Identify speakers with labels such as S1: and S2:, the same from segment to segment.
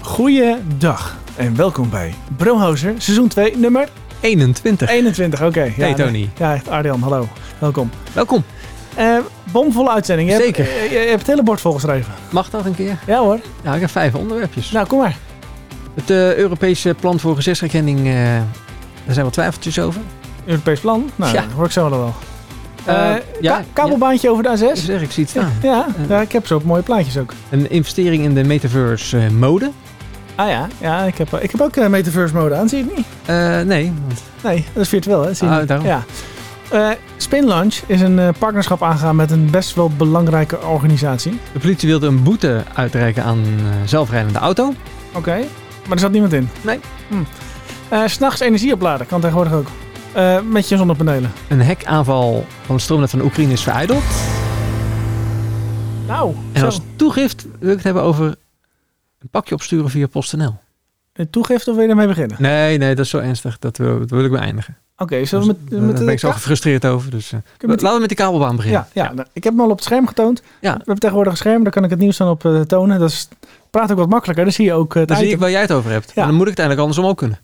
S1: Goeiedag en welkom bij Brohouser, seizoen 2, nummer
S2: 21.
S1: 21. Oké. Ja,
S2: Hey, Tony.
S1: nee. Ja, echt Arjan, hallo. Welkom.
S2: Welkom.
S1: Eh, bomvolle uitzending. Je
S2: Zeker.
S1: Hebt, eh, je, hebt het hele bord volgeschreven.
S2: Mag dat een keer?
S1: Ja hoor.
S2: Ja, ik heb vijf onderwerpjes.
S1: Nou, kom maar.
S2: Het eh, Europese plan voor gezichtsherkenning, eh, daar zijn wat twijfeltjes over.
S1: Europees plan. Nou,
S2: Ja.
S1: dat hoor ik zo wel wel.
S2: Eh,
S1: Eh, ka- kabelbaantje over
S2: ja.
S1: de A6.
S2: Zeg, ik zie het
S1: Ja,
S2: staan.
S1: ja,
S2: Eh.
S1: ja, ik heb zo mooie plaatjes ook.
S2: Een investering in de metaverse eh, mode?
S1: Ah ja, ja ik, heb, ik heb ook eh, metaverse mode aan, zie je het niet?
S2: Eh, nee, want
S1: Nee, dat is virtueel, hè? Zie je
S2: Ah,
S1: niet.
S2: daarom.
S1: Ja. Eh, Spin Launch is een eh, partnerschap aangegaan met een best wel belangrijke organisatie.
S2: de politie wilde een boete uitreiken aan een eh, zelfrijdende auto.
S1: Oké. Maar er zat niemand in?
S2: Nee.
S1: Hm. Eh, S'nachts energie opladen, kan tegenwoordig ook. Eh, met je zonnepanelen.
S2: Een hekaanval van het stroomnet van Oekraïne is verijdeld.
S1: Nou,
S2: En
S1: zo.
S2: als toegift wil ik het hebben over een pakje opsturen via PostNL.
S1: Een Toegift of wil je daarmee beginnen?
S2: Nee, nee, dat is zo ernstig. Dat wil, dat wil ik beëindigen. Dus
S1: Oké, zullen we met,
S2: Daar
S1: met
S2: ben ik zo
S1: ka-
S2: gefrustreerd over. Dus, eh,
S1: met de-
S2: laten we met de kabelbaan beginnen.
S1: Ja, ja, nou, ik heb hem al op het scherm getoond.
S2: Ja.
S1: We hebben tegenwoordig een scherm, daar kan ik het nieuws dan op eh, tonen. Dat is, praat ook wat makkelijker, dan zie je ook eh, het
S2: Dan zie ik
S1: item.
S2: waar jij het over hebt. Maar dan moet ik het eigenlijk andersom ook kunnen.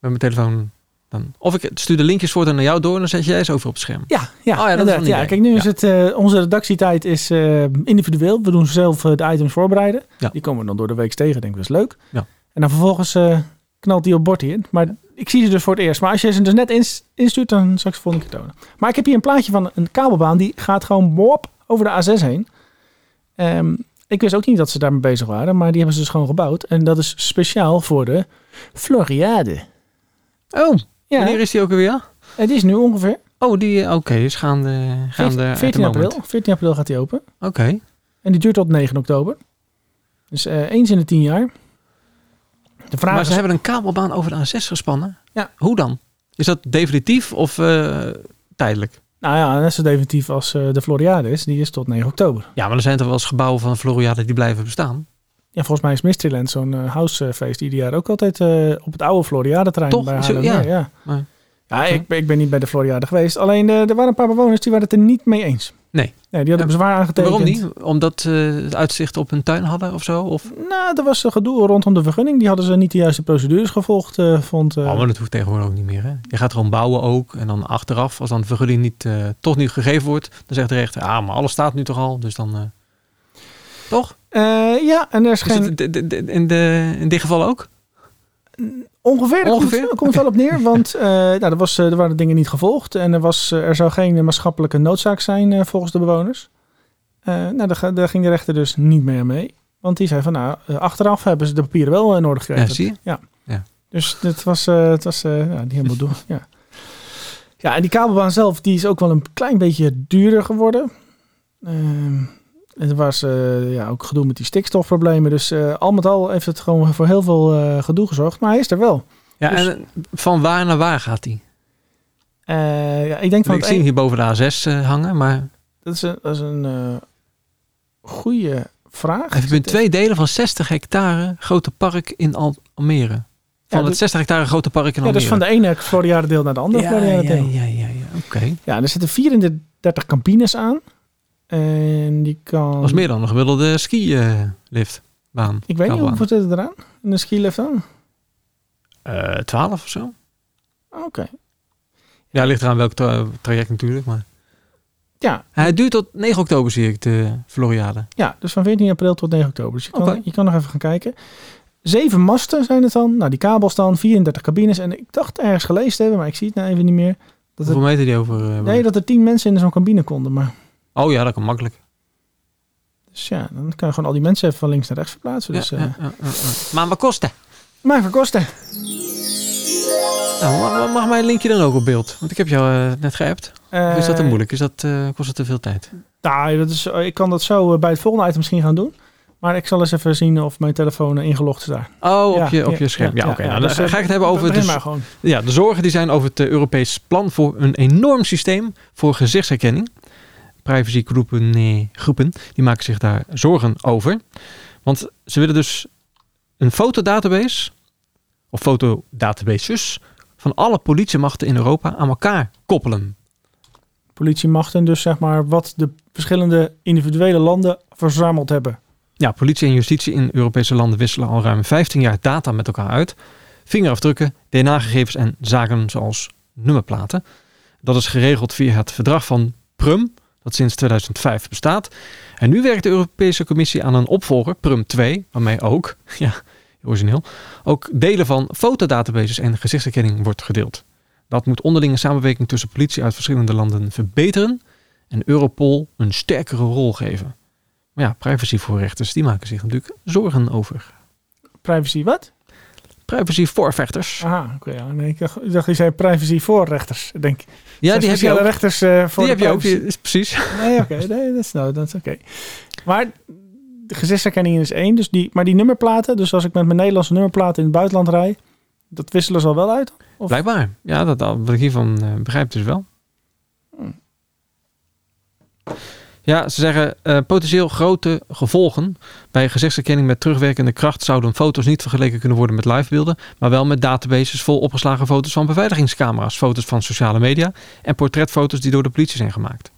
S2: Met mijn telefoon. Dan. Of ik stuur de linkjes voor dan naar jou door en dan zet jij ze over op het scherm.
S1: Ja, ja,
S2: Oh dat is
S1: inderdaad.
S2: wel een
S1: ja
S2: idee.
S1: kijk, nu is
S2: Ja.
S1: het, eh, onze redactietijd is eh, individueel. We doen zelf eh, de items voorbereiden.
S2: Ja.
S1: Die komen we dan door de week tegen, denk ik, dat is leuk.
S2: Ja.
S1: En dan vervolgens eh, knalt die op bord hierin. Maar ik zie ze dus voor het eerst. Maar als je ze dus net ins- instuurt, dan zal ik ze volgende keer tonen. Maar ik heb hier een plaatje van een kabelbaan. Die gaat gewoon wop over de A6 heen. Ehm, ik wist ook niet dat ze daarmee bezig waren. Maar die hebben ze dus gewoon gebouwd. En dat is speciaal voor de Floriade.
S2: Oh,
S1: Ja,
S2: wanneer is die ook alweer?
S1: het is nu ongeveer
S2: Oh, die, eh, oké, is gaande, gaande at the
S1: 14 april.
S2: moment.
S1: 14 april gaat die open.
S2: Oké,
S1: En die duurt tot 9 oktober. Dus eh, eens in de 10 jaar. De vraag
S2: maar ze
S1: is,
S2: hebben een kabelbaan over de A6 gespannen.
S1: Ja.
S2: Hoe dan? Is dat definitief of eh, tijdelijk?
S1: nou ja, net zo definitief als eh, de Floriade is. Die is tot 9 oktober.
S2: Ja, maar er zijn toch wel eens gebouwen van Floriade die blijven bestaan.
S1: Ja, volgens mij is Mysteryland zo'n eh, housefeest ieder jaar ook altijd eh, op het oude Floriade-terrein.
S2: Toch?
S1: Bij
S2: Zo,
S1: Haarlem.
S2: ja.
S1: Ja, ja.
S2: Maar-
S1: Ja, ik, ben- ik ben niet bij de Floriade geweest. Alleen eh, er waren een paar bewoners die waren het er niet mee eens.
S2: Nee.
S1: Nee, die hadden
S2: Ja,
S1: bezwaar aangetekend.
S2: Waarom niet? Omdat eh, het uitzicht op hun tuin hadden of zo? Of?
S1: Nou, er was een gedoe rondom de vergunning. Die hadden ze niet de juiste procedures gevolgd, eh, vond... eh,
S2: Oh, maar dat hoeft tegenwoordig ook niet meer. Hè? Je gaat gewoon bouwen ook. En dan achteraf, als dan de vergunning niet, eh, toch niet gegeven wordt, dan zegt de rechter, ah, maar alles staat nu toch al. Dus dan. eh, toch?
S1: eh, ja, en er is
S2: Is
S1: geen...
S2: het d- d- d- in, de, in dit geval ook?
S1: Ongeveer, daar
S2: Ongeveer?
S1: komt, daar komt het wel op neer. Want eh, nou, er, was, eh, er waren dingen niet gevolgd. En er, was, eh, er zou geen eh, maatschappelijke noodzaak zijn eh, volgens de bewoners. Eh, nou, daar, ga- daar ging de rechter dus niet meer mee. Want die zei van, nou, eh, achteraf hebben ze de papieren wel in orde
S2: Ja,
S1: gekregen.
S2: zie je?
S1: Dus het was, eh, het was eh, ja, die helemaal door. Ja. ja, en die kabelbaan zelf die is ook wel een klein beetje duurder geworden. Ehm het was eh, ja, ook gedoe met die stikstofproblemen. Dus eh, al met al heeft het gewoon voor heel veel eh, gedoe gezorgd. Maar hij is er wel.
S2: Ja,
S1: Dus-
S2: en eh, van waar naar waar gaat die?
S1: Eh, ja, ik denk van
S2: Ik
S1: het
S2: zie hem
S1: een,
S2: hier boven de A6 eh, hangen, maar
S1: dat is een, dat is een eh, goede vraag.
S2: even in twee delen van 60 hectare grote park in Al- Almere. Van
S1: dat-
S2: het 60 hectare grote park
S1: dus- Ja,
S2: in Almere.
S1: dus van de ene Floriade deel naar de andere
S2: ja,
S1: Floriade
S2: ja,
S1: deel. Ja.
S2: ja, ja, ja. Oké.
S1: er zitten 34 campines aan. En die kan...
S2: Dat is meer dan een gemiddelde eh, ski-liftbaan.
S1: Ik weet niet, hoeveel zitten eraan? In de skilift aan?
S2: Eh, 12 of zo.
S1: Oké.
S2: Ja, ligt eraan welk tra- traject natuurlijk. Maar.
S1: Ja,
S2: Hij Eh, duurt tot 9 oktober, zie ik, de Floriade.
S1: ja, dus van 14 april tot 9 oktober. Dus je kan,
S2: Oké.
S1: je kan nog even gaan kijken. Zeven masten zijn het dan. Nou, die kabels dan. 34 cabines. En ik dacht ergens gelezen te hebben, maar ik zie het nou even niet meer. Dat
S2: Hoeveel
S1: er,
S2: meter die over? eh,
S1: nee, dat er 10 mensen in zo'n cabine konden, maar...
S2: Oh ja, dat kan makkelijk.
S1: Dus ja, dan kan je gewoon al die mensen even van links naar rechts verplaatsen. Dus,
S2: ja,
S1: eh,
S2: ja, ja, ja, ja. Maar wat kost dat?
S1: Maar voor kosten.
S2: Nou, ma- ma- mag, mijn linkje dan ook op beeld? Want ik heb jou eh, net geappt. Of is dat te
S1: Eh,
S2: moeilijk? Is dat, eh, kost het te veel tijd?
S1: Nou, dat is, ik kan dat zo eh, bij het volgende item misschien gaan doen. Maar ik zal eens even zien of mijn telefoon eh, ingelogd is daar.
S2: Oh,
S1: Ja,
S2: op, je, op je scherm. Ja, oké. nou, dan
S1: dus,
S2: ga
S1: eh,
S2: ik het hebben over
S1: begin
S2: de,
S1: maar gewoon.
S2: Ja, de zorgen die zijn over het eh, Europees plan voor een enorm systeem voor gezichtsherkenning. Privacygroepen eh, groepen, die maken zich daar zorgen over. Want ze willen dus een fotodatabase of fotodatabases van alle politiemachten in Europa aan elkaar koppelen.
S1: Politiemachten, dus zeg maar wat de verschillende individuele landen verzameld hebben.
S2: Ja, politie en justitie in Europese landen wisselen al ruim 15 jaar data met elkaar uit. Vingerafdrukken, DNA-gegevens en zaken zoals nummerplaten. Dat is geregeld via het verdrag van PRUM, dat sinds 2005 bestaat. En nu werkt de Europese Commissie aan een opvolger, PRUM 2, waarmee ook, ja, origineel, ook delen van fotodatabases en gezichtsherkenning wordt gedeeld. Dat moet onderlinge samenwerking tussen politie uit verschillende landen verbeteren en Europol een sterkere rol geven. Maar ja, privacyvoorrechters die maken zich natuurlijk zorgen over.
S1: Privacy wat?
S2: Privacyvoorvechters.
S1: Aha, oké. ja. Nee, ik dacht, ik dacht, je zei privacy voor rechters. Ik Denk,
S2: Ja, die heb je
S1: speciale
S2: ook.
S1: rechters eh, voor
S2: Die
S1: de
S2: heb je ook,
S1: privacy.
S2: die- is precies.
S1: Nee, oké. Nee, dat is, nou, dat is oké. Maar de gezichtsherkenning is één. Dus die, maar die nummerplaten, dus als ik met mijn Nederlandse nummerplaten in het buitenland rij, dat wisselen ze al wel uit. Of-
S2: Blijkbaar. Ja, dat, dat- wat ik hiervan eh, begrijp dus wel. Ja, ze zeggen eh, potentieel grote gevolgen. Bij gezichtsherkenning met terugwerkende kracht zouden foto's niet vergeleken kunnen worden met livebeelden, maar wel met databases vol opgeslagen foto's van beveiligingscamera's, foto's van sociale media en portretfoto's die door de politie zijn gemaakt.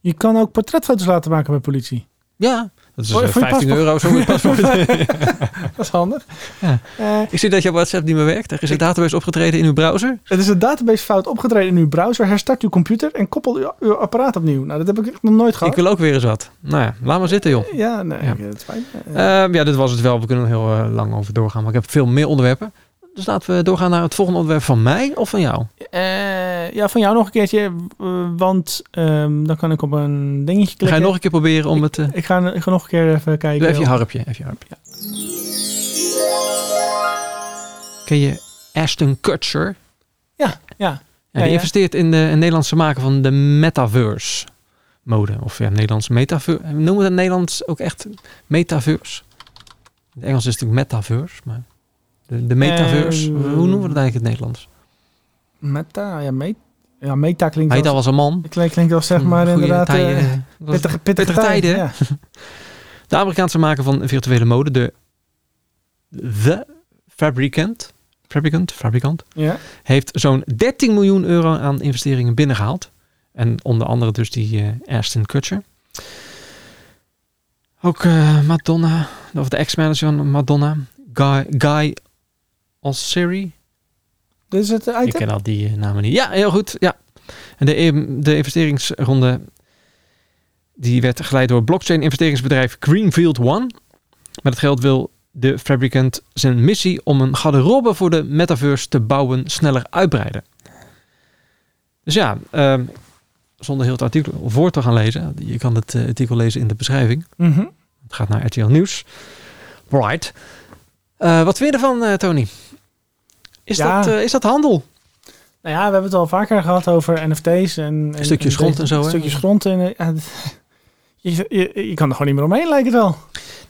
S1: Je kan ook portretfoto's laten maken bij politie.
S2: Ja, dat is
S1: Voor-
S2: eh,
S1: voor je
S2: 15
S1: paspoort.
S2: euro zo voor je paspoort.
S1: Dat is handig.
S2: Ja.
S1: Eh,
S2: Ik zie dat jouw WhatsApp niet meer werkt. Er is een database opgetreden in uw browser.
S1: Het is een databasefout opgetreden in uw browser. Herstart uw computer en koppel uw, uw apparaat opnieuw. Nou, dat heb ik echt nog nooit
S2: Ik
S1: gehad.
S2: wil ook weer eens wat. Nou ja, laat maar zitten joh.
S1: Ja, nee,
S2: Ja.
S1: oké, dat is fijn. Eh,
S2: Ehm, ja, dit was het wel. We kunnen er heel eh, lang over doorgaan. Maar ik heb veel meer onderwerpen. Dus laten we doorgaan naar het volgende onderwerp van mij of van jou.
S1: eh, ja, van jou nog een keertje, eh, want ehm, dan kan ik op een dingetje klikken.
S2: Ga je nog een keer proberen om het... eh
S1: Ik ga, ik ga nog een keer even kijken.
S2: doe even je harpje. Even je harpje. Ken je Ashton Kutcher?
S1: Ja,
S2: Ja,
S1: Ja,
S2: die
S1: ja.
S2: investeert in de een Nederlandse maken van de metaverse mode. Of ja, Nederlands metaverse. Noemen we het Nederlands ook echt metaverse? In het Engels is het natuurlijk metaverse, maar... De, de metaverse,
S1: Eh,
S2: hoe noemen we dat eigenlijk in het Nederlands?
S1: meta, ja, meta, ja, meta klinkt
S2: Hij
S1: als,
S2: was een man.
S1: klinkt, klinkt als zeg maar
S2: Goeie
S1: inderdaad...
S2: tijden.
S1: eh,
S2: Dat was-
S1: Pittige, pittige,
S2: pittige
S1: tijden,
S2: tijden,
S1: ja.
S2: De Amerikaanse maker van virtuele mode, de The Fabricant, Fabricant, Fabricant
S1: ja.
S2: heeft zo'n 13 miljoen euro aan investeringen binnengehaald. En onder andere dus die eh, Ashton Kutcher. Ook eh, Madonna, of de ex-manager van Madonna, Guy, Guy Alseri.
S1: Dit is Dus het
S2: Ik
S1: item?
S2: ken al die eh, namen niet. Ja, heel goed. Ja. En de, em- de investeringsronde die werd geleid door blockchain-investeringsbedrijf Greenfield One. Met het geld wil de fabricant zijn missie om een garderobe voor de metaverse te bouwen sneller uitbreiden. Dus ja, ehm, zonder heel het artikel voor te gaan lezen. Je kan het eh, artikel lezen in de beschrijving.
S1: Mhm.
S2: Het gaat naar RTL Nieuws. Right. Eh, wat vind je ervan, eh, Tony? Is,
S1: Ja.
S2: dat, eh, is dat handel?
S1: Nou ja, we hebben het al vaker gehad over NFT's en... en
S2: Stukjes
S1: en
S2: grond
S1: de-
S2: en zo, hè?
S1: Stukjes grond en... eh, ja, d- je, je, je kan er gewoon niet meer omheen, lijkt het wel.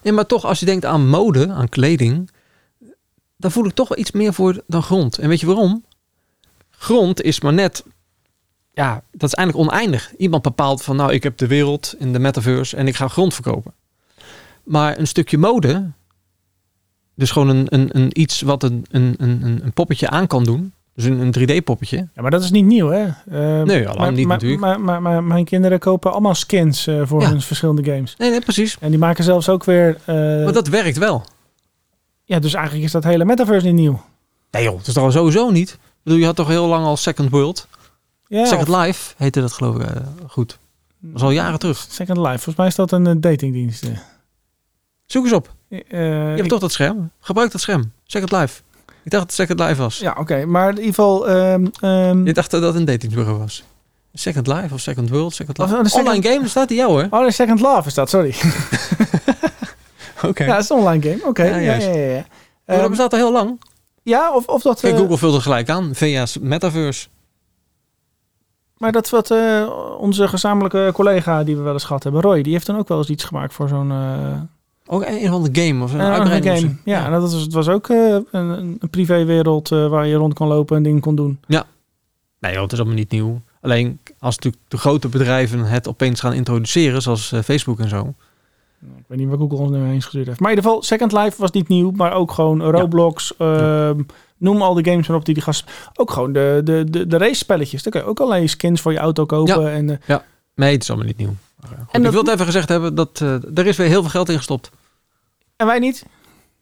S2: Nee, maar toch, als je denkt aan mode, aan kleding, dan voel ik toch wel iets meer voor dan grond. En weet je waarom? Grond is maar net, ja, dat is eigenlijk oneindig. Iemand bepaalt van, nou, ik heb de wereld in de metaverse en ik ga grond verkopen. Maar een stukje mode, dus gewoon een, een, een iets wat een, een, een, een- een poppetje aan kan doen, dus een, een 3D-poppetje.
S1: Ja, maar dat is niet nieuw, hè? Eh,
S2: Nee, al lang
S1: maar-
S2: niet
S1: maar,
S2: natuurlijk.
S1: Maar, maar, maar mijn kinderen kopen allemaal skins eh, voor
S2: Ja.
S1: hun verschillende games.
S2: Nee, nee, precies.
S1: En die maken zelfs ook weer... eh,
S2: Maar dat werkt wel.
S1: Ja, dus eigenlijk is dat hele metaverse niet nieuw.
S2: Nee joh, dat is toch sowieso niet. Ik bedoel, je had toch heel lang al Second World?
S1: Ja,
S2: Second
S1: of
S2: Life heette dat geloof ik eh, goed. Dat is al jaren terug.
S1: Second Life. Volgens mij is dat een eh, datingdienst. eh.
S2: Zoek eens op.
S1: Eh,
S2: Je
S1: ik-
S2: hebt toch dat scherm? Gebruik dat scherm. Second Life. Ik dacht dat Second Life was.
S1: Ja, oké. Maar in ieder geval... ehm, ehm,
S2: Je dacht dat dat een datingbureau was. Second Life of Second World, Second
S1: Of
S2: Life.
S1: een second-
S2: Online game staat die jou hoor.
S1: Oh, nee, Second Love is dat, sorry.
S2: Oké.
S1: Ja, het is een online game. Oké,
S2: Ja,
S1: ja,
S2: juist.
S1: ja, ja, ja.
S2: Maar dat
S1: Ehm,
S2: bestaat al heel lang.
S1: ja, of, of dat...
S2: Kijk,
S1: eh,
S2: Google vult er gelijk aan. VS Metaverse.
S1: Maar dat wat eh, onze gezamenlijke collega die we wel eens gehad hebben, Roy, die heeft dan ook wel eens iets gemaakt voor zo'n eh,
S2: Ook een van de game of een
S1: Ah, een
S2: uitbreiding.
S1: game.
S2: of
S1: Ja,
S2: zo.
S1: en dat was, het was ook eh, een, een privéwereld eh, waar je rond kon lopen en dingen kon doen.
S2: Nee joh, het is allemaal niet nieuw. Alleen als natuurlijk de grote bedrijven het opeens gaan introduceren, zoals eh, Facebook en zo.
S1: Nou, Ik weet niet waar Google ons nu heen gestuurd heeft. Maar in ieder geval, Second Life was niet nieuw, maar ook gewoon Roblox. ehm, Noem al de games maar op die die gast... Ook gewoon de, de, de, de race spelletjes. Daar kun je ook allerlei skins voor je auto kopen. En, eh,
S2: Nee, het is allemaal niet nieuw. en
S1: dat-
S2: eh, ik wil het even gezegd hebben dat eh, er is weer heel veel geld in gestopt.
S1: En wij niet?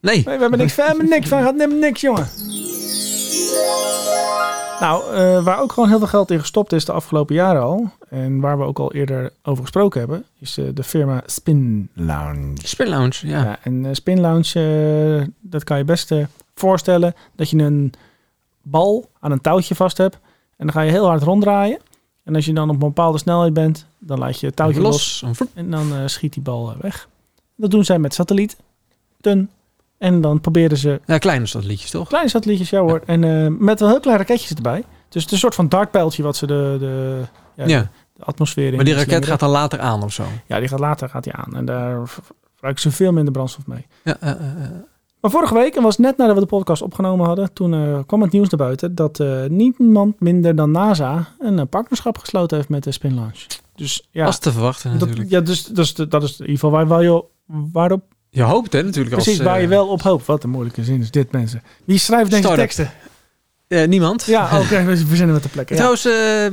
S2: Nee,
S1: Nee, we hebben niks van, we hebben niks van, gaat nemen niks, jongen. Nou, eh, waar ook gewoon heel veel geld in gestopt is de afgelopen jaren al, en waar we ook al eerder over gesproken hebben, is eh, de firma Spin Lounge.
S2: Spin Lounge, ja.
S1: Ja. en eh, Spin Lounge, eh, dat kan je best eh, voorstellen dat je een bal aan een touwtje vast hebt en dan ga je heel hard ronddraaien. En als je dan op een bepaalde snelheid bent, dan laat je het touwtje los,
S2: los. Een vroep.
S1: en dan eh, schiet die bal eh, weg. Dat doen zij met satellieten. En dan proberen ze
S2: Ja, klein is dat liedje toch?
S1: Kleine satellietjes, ja hoor. En eh, met wel heel klein raketjes erbij. Dus het is een soort van dartpijltje wat ze de, de, ja,
S2: Ja,
S1: de atmosfeer in
S2: maar die raket
S1: slingeren.
S2: gaat dan later aan of zo.
S1: Ja, die gaat later gaat die aan. En daar v- verbruiken ze veel minder brandstof mee.
S2: Ja, eh, eh, eh.
S1: Maar vorige week, en was net nadat we de podcast opgenomen hadden... toen eh, kwam het nieuws naar buiten dat eh, niemand minder dan NASA... een eh, partnerschap gesloten heeft met de Spin Launch. Dus ja,
S2: was te verwachten
S1: dat,
S2: natuurlijk.
S1: ja dus, dus de- dat is in ieder geval waar, waar je, waarop,
S2: Je hoopt hè natuurlijk als...
S1: precies waar je
S2: eh,
S1: wel op hoopt. Wat een moeilijke zin is dit, mensen. Wie schrijft deze
S2: Start-up.
S1: teksten?
S2: eh, niemand.
S1: Ja, oké, we verzinnen wat de plekken. Ja.
S2: Trouwens,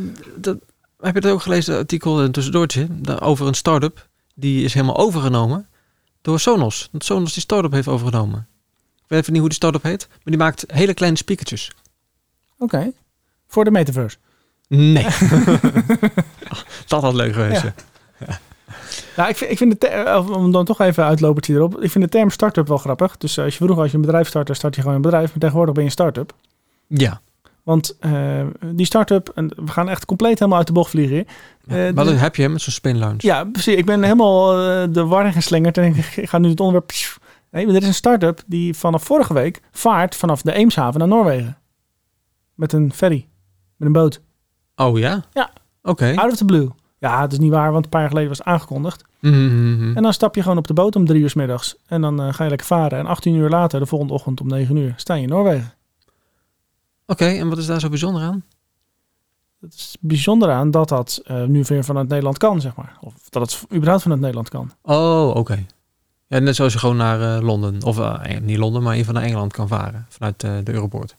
S2: eh, dat, heb je dat ook gelezen, dat artikel een tussendoortje, da- over een start-up. Die is helemaal overgenomen door Sonos. Dat Sonos die start-up heeft overgenomen. Ik weet even niet hoe die start-up heet, maar die maakt hele kleine speakertjes.
S1: Oké. Voor de metaverse.
S2: Nee. Ah, dat had leuk geweest.
S1: Ja.
S2: Ja.
S1: Nou, ik vind, ik vind de ter- eh, om dan toch even uitlopertje erop. Ik vind de term start-up wel grappig. Dus eh, als je vroeger als je een bedrijf startte, start je gewoon een bedrijf. Maar tegenwoordig ben je een start-up.
S2: ja.
S1: Want eh, die start-up, en we gaan echt compleet helemaal uit de bocht vliegen hier. Eh,
S2: maar
S1: de-
S2: dan heb je hem met zo'n spin lounge.
S1: Ja, precies. Ik ben helemaal eh, de war in geslingerd en ik, ik ga nu het onderwerp... pssst. Nee, maar er is een start-up die vanaf vorige week vaart vanaf de Eemshaven naar Noorwegen. Met een ferry. Met een boot.
S2: Oh ja?
S1: Ja. Ah.
S2: Oké.
S1: Out of the blue. Ja, het is niet waar, want een paar jaar geleden was het aangekondigd.
S2: Mhm.
S1: En dan stap je gewoon op de boot om drie uur 's middags. En dan eh, ga je lekker varen. En 18 uur later, de volgende ochtend om 9 uur, sta je in Noorwegen.
S2: Oké, en wat is daar zo bijzonder aan?
S1: Het is bijzonder aan dat dat eh, nu weer vanuit Nederland kan, zeg maar. Of dat het überhaupt vanuit Nederland kan.
S2: Oh, oké. Ja, net zoals je gewoon naar eh, Londen, of eh, eh, niet Londen, maar in van naar Engeland kan varen. Vanuit eh, de Europoort.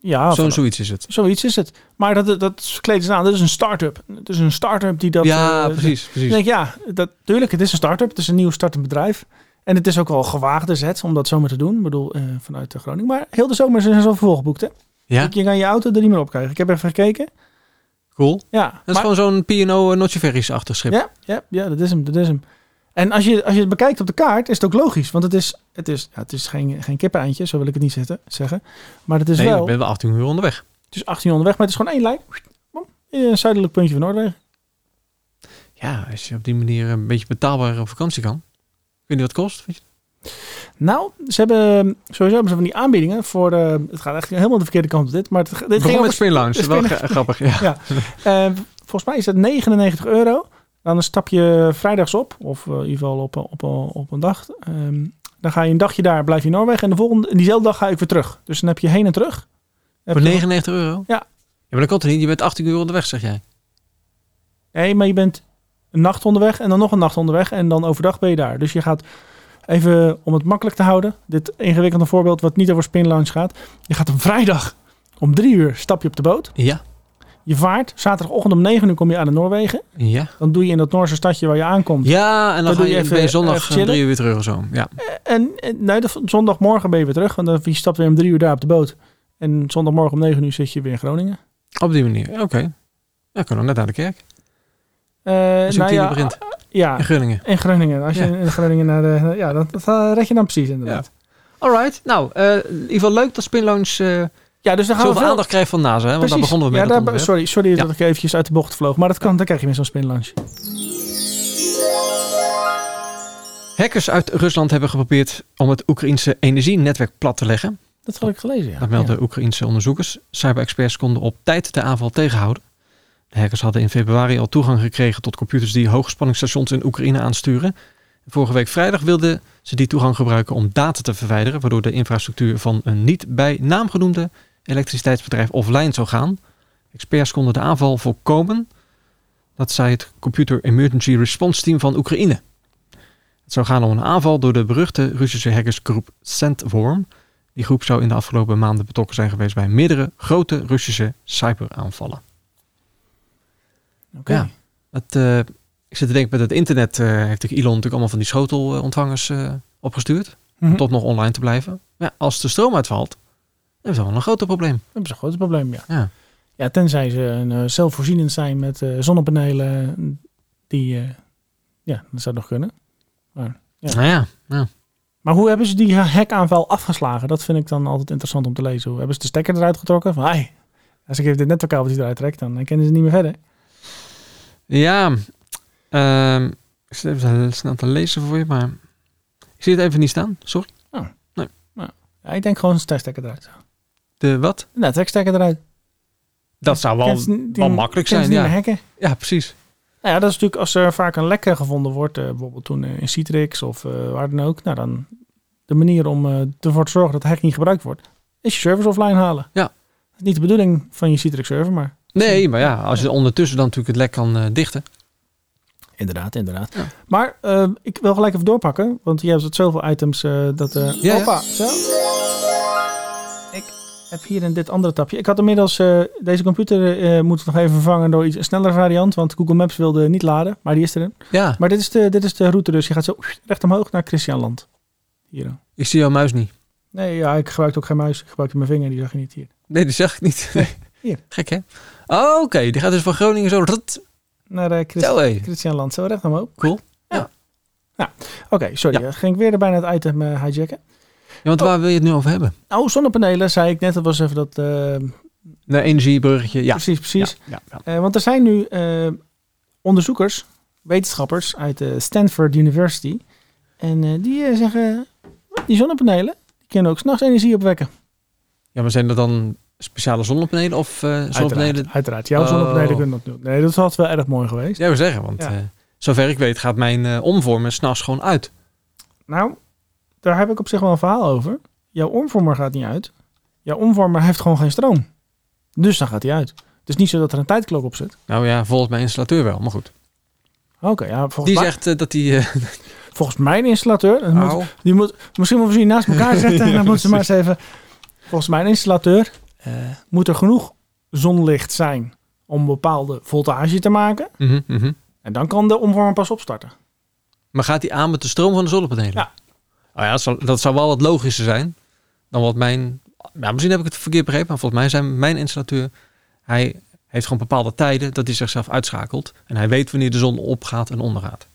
S1: Ja,
S2: Zo'n
S1: van-
S2: zoiets is het.
S1: zoiets is het. Maar dat, dat kleden ze aan. Dat is een start-up. Het is een start-up die dat...
S2: ja,
S1: eh,
S2: precies. precies.
S1: Ik denk, ja, dat, tuurlijk, het is een start-up. Het is een nieuw startend bedrijf. En het is ook wel een gewaagde zet om dat zomaar te doen. Ik bedoel, eh, vanuit eh, Groningen. Maar heel de zomer zijn ze al volgeboekt, hè?
S2: ja,
S1: Je kan je auto er niet meer op krijgen. Ik heb even gekeken.
S2: cool. Dat
S1: Ja,
S2: is gewoon zo'n P&O Notje eh, Ferries-achtig schip.
S1: Ja, ja, ja, dat is hem, dat is hem. En als je, als je het bekijkt op de kaart, is het ook logisch. Want het is, het is, ja, het is geen, geen kippeneindje, zo wil ik het niet zetten, zeggen. Maar het is
S2: nee,
S1: wel,
S2: ik ben wel 18 uur onderweg.
S1: het is 18 onderweg, maar het is gewoon één lijn. Bom, in een zuidelijk puntje van Noorwegen.
S2: Ja, als je op die manier een beetje betaalbaar op vakantie kan. Ik weet niet wat het kost. Weet je?
S1: Nou, ze hebben sowieso hebben ze van die aanbiedingen voor... eh, het gaat echt helemaal de verkeerde kant op dit, maar het, dit
S2: Begon
S1: ging
S2: met
S1: over,
S2: Spin Lounge.
S1: Spin
S2: wel gra- grappig, ja.
S1: eh, Volgens mij is dat 99 euro. Dan stap je vrijdags op, of eh, in ieder geval op, op, op een dag. Ehm, dan ga je een dagje daar, blijf je in Noorwegen. En de volgende, en diezelfde dag ga ik weer terug. Dus dan heb je heen en terug. Heb
S2: Voor
S1: je-
S2: 99 euro?
S1: Ja.
S2: Ja, maar dat kan toch niet? Je bent 18 uur onderweg, zeg jij.
S1: Nee, maar je bent een nacht onderweg en dan nog een nacht onderweg en dan overdag ben je daar. Dus je gaat even, om het makkelijk te houden, dit ingewikkelde voorbeeld wat niet over Spin Lounge gaat. Je gaat een vrijdag om drie uur stap je op de boot.
S2: Ja.
S1: Je vaart, zaterdagochtend om negen uur kom je aan de Noorwegen.
S2: Ja.
S1: Dan doe je in dat Noorse stadje waar je aankomt.
S2: Ja, en
S1: Dan
S2: dan
S1: doe
S2: ga
S1: je
S2: je,
S1: even-
S2: ben je
S1: even
S2: zondag eh,
S1: chillen.
S2: drie uur weer terug of zo. Ja.
S1: En, en nee, de- zondagmorgen ben je weer terug, want dan je stapt weer om drie uur daar op de boot. En zondagmorgen om negen uur zit je weer in Groningen.
S2: Op die manier, oké. Ja, kunnen we net naar de kerk.
S1: Eh,
S2: Als je om
S1: nou
S2: tien
S1: ja,
S2: uur begint
S1: ja,
S2: in Groningen.
S1: in Groningen. Als je
S2: Ja.
S1: in Groningen naar de... Ja, dat, dat eh, red je dan precies inderdaad.
S2: Alright, nou, eh, in ieder geval leuk dat Spin Lounge eh,
S1: Ja, dus dan gaan we
S2: zoveel
S1: veel-
S2: aandacht krijgt van NASA. Hè? Want daar
S1: Precies.
S2: begonnen we mee.
S1: Ja,
S2: dat
S1: daar-
S2: onderwerp.
S1: sorry sorry
S2: Ja.
S1: dat ik eventjes uit de bocht vloog. Maar dat kan, dan krijg je weer zo'n spinlunch.
S2: Hackers uit Rusland hebben geprobeerd om het Oekraïense energienetwerk plat te leggen.
S1: Dat had ik gelezen, ja.
S2: Dat melden Oekraïense onderzoekers. Cyberexperts konden op tijd de aanval tegenhouden. De hackers hadden in februari al toegang gekregen tot computers die hoogspanningsstations in Oekraïne aansturen. Vorige week vrijdag wilden ze die toegang gebruiken om data te verwijderen, waardoor de infrastructuur van een niet bij naam genoemde elektriciteitsbedrijf offline zou gaan. Experts konden de aanval voorkomen. Dat zei het Computer Emergency Response Team van Oekraïne. Het zou gaan om een aanval door de beruchte Russische hackersgroep Sandworm. Die groep zou in de afgelopen maanden betrokken zijn geweest bij meerdere grote Russische cyberaanvallen.
S1: Ja. Oké.
S2: Ja. Het, eh, Ik zit te denken, met het internet eh, heeft natuurlijk Elon natuurlijk allemaal van die schotelontvangers eh, opgestuurd.
S1: Mhm.
S2: Om toch nog online te blijven. Maar ja, als de stroom uitvalt, dan hebben ze wel een groot probleem.
S1: Dat is een groot probleem, ja.
S2: Ja.
S1: Ja, tenzij ze een, eh, zelfvoorzienend zijn met eh, zonnepanelen. Die, eh, ja, dat zou nog kunnen. Ja.
S2: Nou ja, ja.
S1: Maar hoe hebben ze die hackaanval afgeslagen? Dat vind ik dan altijd interessant om te lezen. Hoe hebben ze de stekker eruit getrokken? Van, hey, als ik even dit netwerkkabeltje eruit trek, dan kennen ze niet meer verder.
S2: Ja, ehm, ik zit even snel te lezen voor je, maar ik zie het even niet staan. Sorry.
S1: Ja, ik denk gewoon een stekker eruit.
S2: De wat?
S1: Een netwerkstekker eruit.
S2: Dat zou wel,
S1: Kennen ze niet-
S2: wel makkelijk
S1: kennen
S2: zijn.
S1: ze niet
S2: Ja.
S1: meer hacken.
S2: ja, precies.
S1: Nou ja, dat is natuurlijk als er vaak een lekker gevonden wordt, eh, bijvoorbeeld toen eh, in Citrix of eh, waar dan ook. Nou, dan de manier om eh, ervoor te zorgen dat hack niet gebruikt wordt, is je servers offline halen.
S2: Ja.
S1: Dat is niet de bedoeling van je Citrix server, maar...
S2: Nee, maar ja, als je ondertussen dan natuurlijk het lek kan eh, dichten.
S1: Inderdaad, inderdaad.
S2: Ja.
S1: Maar eh, ik wil gelijk even doorpakken, want je hebt zoveel items eh, dat... eh
S2: Ja, ja.
S1: Hoppa, zo. Ik heb hier in dit andere tapje. Ik had inmiddels eh, deze computer eh moeten nog even vervangen door iets een snellere variant, want Google Maps wilde niet laden, maar die is er.
S2: Ja,
S1: Maar dit is, de, dit is de route dus. Je gaat zo recht omhoog naar Christianland. Hier. dan.
S2: ik zie jouw muis niet.
S1: Nee, ja, ik gebruikte ook geen muis. Ik gebruikte mijn vinger, die zag je niet hier.
S2: Nee, die zag ik niet. Nee.
S1: Hier.
S2: Gek, hè? Oh, oké. Die gaat dus van Groningen zo... rut,
S1: Naar eh Christ-
S2: Zo, hé.
S1: Christianland. Zo recht omhoog.
S2: Cool.
S1: Oké, sorry. eh, Ging ik weer bijna het item eh, hijacken.
S2: Ja, want waar wil je het nu over hebben?
S1: Oh, zonnepanelen, zei ik net. Dat was even dat... eh,
S2: Naar energiebruggetje. Ja.
S1: Precies, precies.
S2: Ja, ja, ja.
S1: Eh, want er zijn nu eh, onderzoekers, wetenschappers uit de Stanford University. En eh, die eh, zeggen, die zonnepanelen die kunnen ook s'nachts energie opwekken.
S2: Ja, maar zijn dat dan speciale zonnepanelen of eh, zonnepanelen?
S1: Uiteraard, uiteraard. Jouw
S2: Oh.
S1: zonnepanelen kunnen dat doen. Nee, dat had wel erg mooi geweest.
S2: Ja, we zeggen, want
S1: Ja.
S2: eh, zover ik weet gaat mijn eh, omvormen s'nachts gewoon uit.
S1: Nou, daar heb ik op zich wel een verhaal over. Jouw omvormer gaat niet uit. Jouw omvormer heeft gewoon geen stroom. Dus dan gaat hij uit. Het is niet zo dat er een tijdklok op zit.
S2: Nou ja, volgens mijn installateur wel, maar goed.
S1: Oké, ja, volgens,
S2: Die
S1: mij-
S2: zegt eh, dat die... eh,
S1: volgens mijn installateur... dat moet-
S2: au.
S1: Die moet, misschien moeten we ze hier naast elkaar zetten. en dan moeten ze maar eens even. Volgens mijn installateur eh, moet er genoeg zonlicht zijn om een bepaalde voltage te maken.
S2: Mhm, mhm.
S1: En dan kan de omvormer pas opstarten.
S2: Maar gaat die aan met de stroom van de zonnepanelen?
S1: Ja.
S2: Oh ja, dat zou, dat zou wel wat logischer zijn dan wat mijn... Ja, misschien heb ik het verkeerd begrepen, maar volgens mij zijn mijn installateur... Hij heeft gewoon bepaalde tijden dat hij zichzelf uitschakelt. En hij weet wanneer de zon opgaat en ondergaat.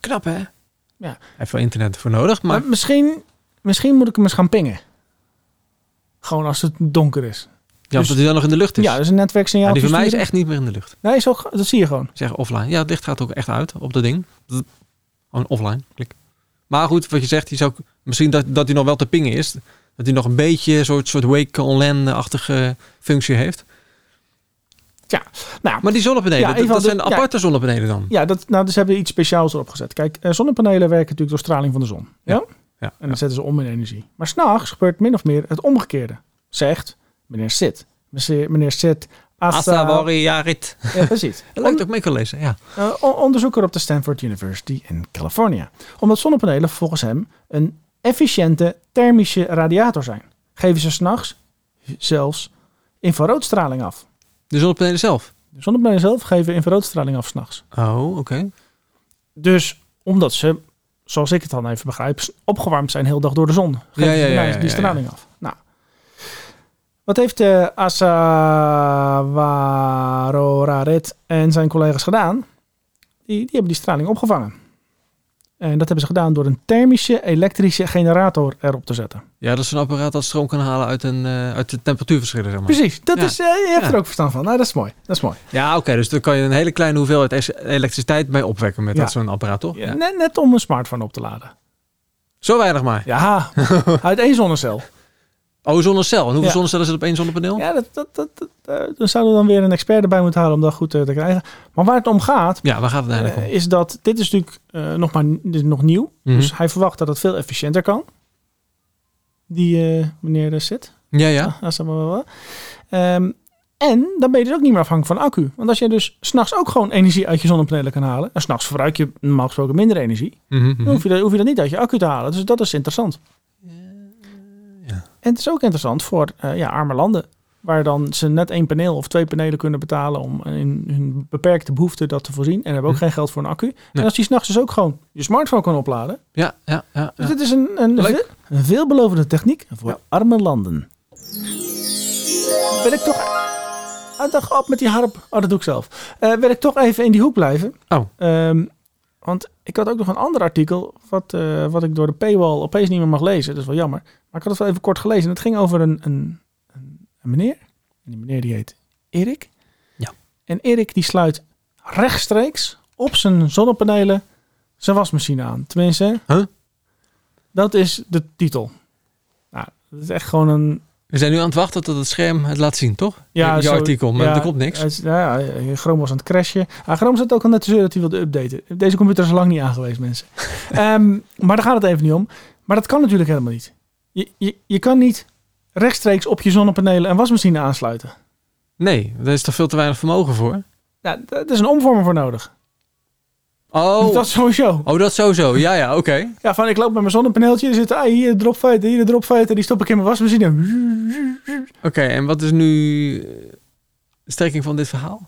S2: Knap, hè? Ja. Hij heeft wel internet voor nodig, maar...
S1: Maar, misschien, misschien moet ik hem eens gaan pingen. Gewoon als het donker is.
S2: Ja,
S1: Dus-
S2: dat hij dan nog in de lucht is.
S1: ja, dat is een netwerksignaal.
S2: Ja, die van mij is
S1: versturen.
S2: echt niet meer in de lucht.
S1: Nee, is ook, dat zie je gewoon.
S2: Ik zeg offline. Ja, het licht gaat ook echt uit op dat ding. Dat- Gewoon offline. Klik. Maar goed, wat je zegt, die zou, misschien dat, dat hij nog wel te pingen is. Dat hij nog een beetje een soort, soort wake on land-achtige functie heeft.
S1: Nou,
S2: Maar die zonnepanelen,
S1: Ja,
S2: dat,
S1: even
S2: dat
S1: de-
S2: zijn
S1: ja.
S2: aparte zonnepanelen dan.
S1: Ja, dat, nou, dus hebben we iets speciaals erop gezet. Kijk, eh, zonnepanelen werken natuurlijk door straling van de zon. Ja?
S2: Ja, ja,
S1: en dan zetten ze om in energie. Maar s'nachts gebeurt min of meer het omgekeerde. Zegt meneer Sit. Meneer, meneer Sit. eh,
S2: Asta Warriarit.
S1: Ja, precies.
S2: Leuk dat ik mee kan lezen, ja.
S1: Eh, on- onderzoeker op de Stanford University in California. Omdat zonnepanelen volgens hem een efficiënte thermische radiator zijn. Geven ze s'nachts zelfs infraroodstraling af.
S2: De zonnepanelen zelf.
S1: De zonnepanelen zelf geven infraroodstraling af s'nachts.
S2: Oh, oké.
S1: Dus omdat ze, zoals ik het dan even begrijp, s- opgewarmd zijn heel dag door de zon. Geven
S2: Ja, ja,
S1: ze
S2: ja,
S1: die-
S2: ja,
S1: die
S2: ja,
S1: straling af. Nou. Wat heeft eh Asawaroraret en zijn collega's gedaan? Die, die hebben die straling opgevangen. En dat hebben ze gedaan door een thermische elektrische generator erop te zetten.
S2: Ja, dat is een apparaat dat stroom kan halen uit, een, eh, uit de temperatuurverschillen, zeg maar.
S1: Precies, dat
S2: Ja.
S1: is, eh, je hebt
S2: Ja.
S1: er ook verstand van. Nou, dat is mooi. Dat is mooi.
S2: Ja, oké. dus daar kan je een hele kleine hoeveelheid es- elektriciteit mee opwekken met
S1: Ja.
S2: dat zo'n apparaat, toch? Ja.
S1: Net, net om een smartphone op te laden.
S2: Zo weinig maar.
S1: Ja, uit één zonnecel.
S2: Oh, zonnecel. En hoeveel
S1: Ja.
S2: zonnecellen zitten op één zonnepaneel?
S1: Ja, dat, dat, dat, dat, eh, dan zouden we dan weer een expert erbij moeten halen om dat goed eh, te krijgen. Maar waar het om gaat,
S2: Ja, waar gaat het eigenlijk
S1: eh, is dat dit is natuurlijk eh, nog, maar, dit is nog nieuw.
S2: Mhm.
S1: Dus hij verwacht dat het veel efficiënter kan. Die eh meneer er zit.
S2: om? Mhm. Ja, ja.
S1: Ah, zeg maar wel. Ehm, en dan ben je dus ook niet meer afhankelijk van accu. Want als je dus s'nachts ook gewoon energie uit je zonnepanelen kan halen. En s'nachts verbruik je normaal gesproken minder energie.
S2: Mhm, mhm.
S1: Dan hoef je, dat, hoef je dat niet uit je accu te halen. Dus dat is interessant.
S2: ja.
S1: En het is ook interessant voor eh, ja, arme landen. Waar dan ze net één paneel of twee panelen kunnen betalen om in hun beperkte behoefte dat te voorzien. En hebben ook
S2: Hm.
S1: geen geld voor een accu. En
S2: Nee.
S1: als je s'nachts dus ook gewoon je smartphone kan opladen.
S2: Ja, ja, ja.
S1: Dus
S2: ja.
S1: dit is een, een,
S2: Leuk.
S1: ve- een veelbelovende techniek voor
S2: Ja.
S1: arme landen. Wil ik toch... Ah, dag op met die harp. Oh, dat doe ik zelf. Eh, wil ik toch even in die hoek blijven.
S2: Oh.
S1: Ehm, want ik had ook nog een ander artikel... Wat, eh, wat ik door de paywall opeens niet meer mag lezen. Dat is wel jammer. Maar ik had het wel even kort gelezen. En het ging over een, een, een, een meneer. En die meneer die heet Erik.
S2: Ja.
S1: En Erik die sluit rechtstreeks op zijn zonnepanelen zijn wasmachine aan. Tenminste,
S2: Huh?
S1: dat is de titel. Nou, dat is echt gewoon een...
S2: We zijn nu aan het wachten tot het scherm het laat zien, toch? Jouw
S1: zo- Eh.
S2: artikel, maar er komt niks.
S1: het is- ja, ja, Chrome was aan het crashen. Ah, Chrome zat ook al net te zeuren dat hij wilde updaten. Deze computer is al lang niet aangewezen, mensen. Ehm, maar daar gaat het even niet om. Maar dat kan natuurlijk helemaal niet. Je, je, je kan niet rechtstreeks op je zonnepanelen en wasmachine aansluiten.
S2: Nee, daar is toch veel te weinig vermogen voor?
S1: Nou, daar daar is een omvormer voor nodig.
S2: Oh,
S1: Dat is sowieso.
S2: oh dat sowieso. Ja, ja, oké.
S1: Ja, van ik loop met mijn zonnepaneeltje. Er zitten ah, hier een dropfeiten, hier een dropfeiten. Die stop ik in mijn wasmachine.
S2: Oké, en wat is nu eh, de strekking van dit verhaal?